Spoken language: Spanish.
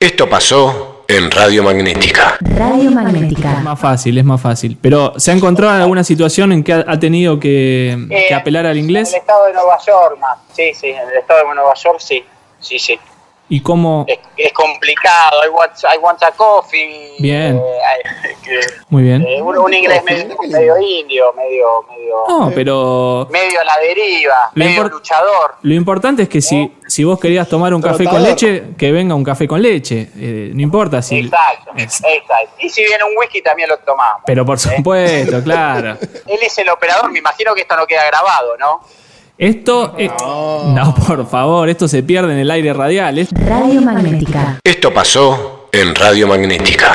Esto pasó en Radio Magnética. Radio Magnética. Es más fácil, es más fácil. Pero, ¿se ha encontrado en alguna situación en que ha ha tenido que, Eh, que apelar al En inglés? el estado de Nueva York, más. Sí, sí, en el estado de Nueva York, sí. Sí, sí. ¿Y cómo? Es, es complicado. I want, I want a coffee. Bien. Eh, ay, que- Muy bien. eh, un, un inglés medio, medio indio, medio, medio, No, pero medio a la deriva, Lo medio Oh. import- luchador. lo importante es que si, si vos querías tomar un café con Trotador. leche, que venga un café con leche. Eh, no importa si... Exacto, es- exacto. Y si viene un whisky también lo tomamos. pero por supuesto, claro. Él es el operador, me imagino que esto no queda grabado, ¿no? Esto... eh, no. por favor, esto se pierde en el aire radial. Es- Radio Magnética. Esto pasó en Radio Magnética.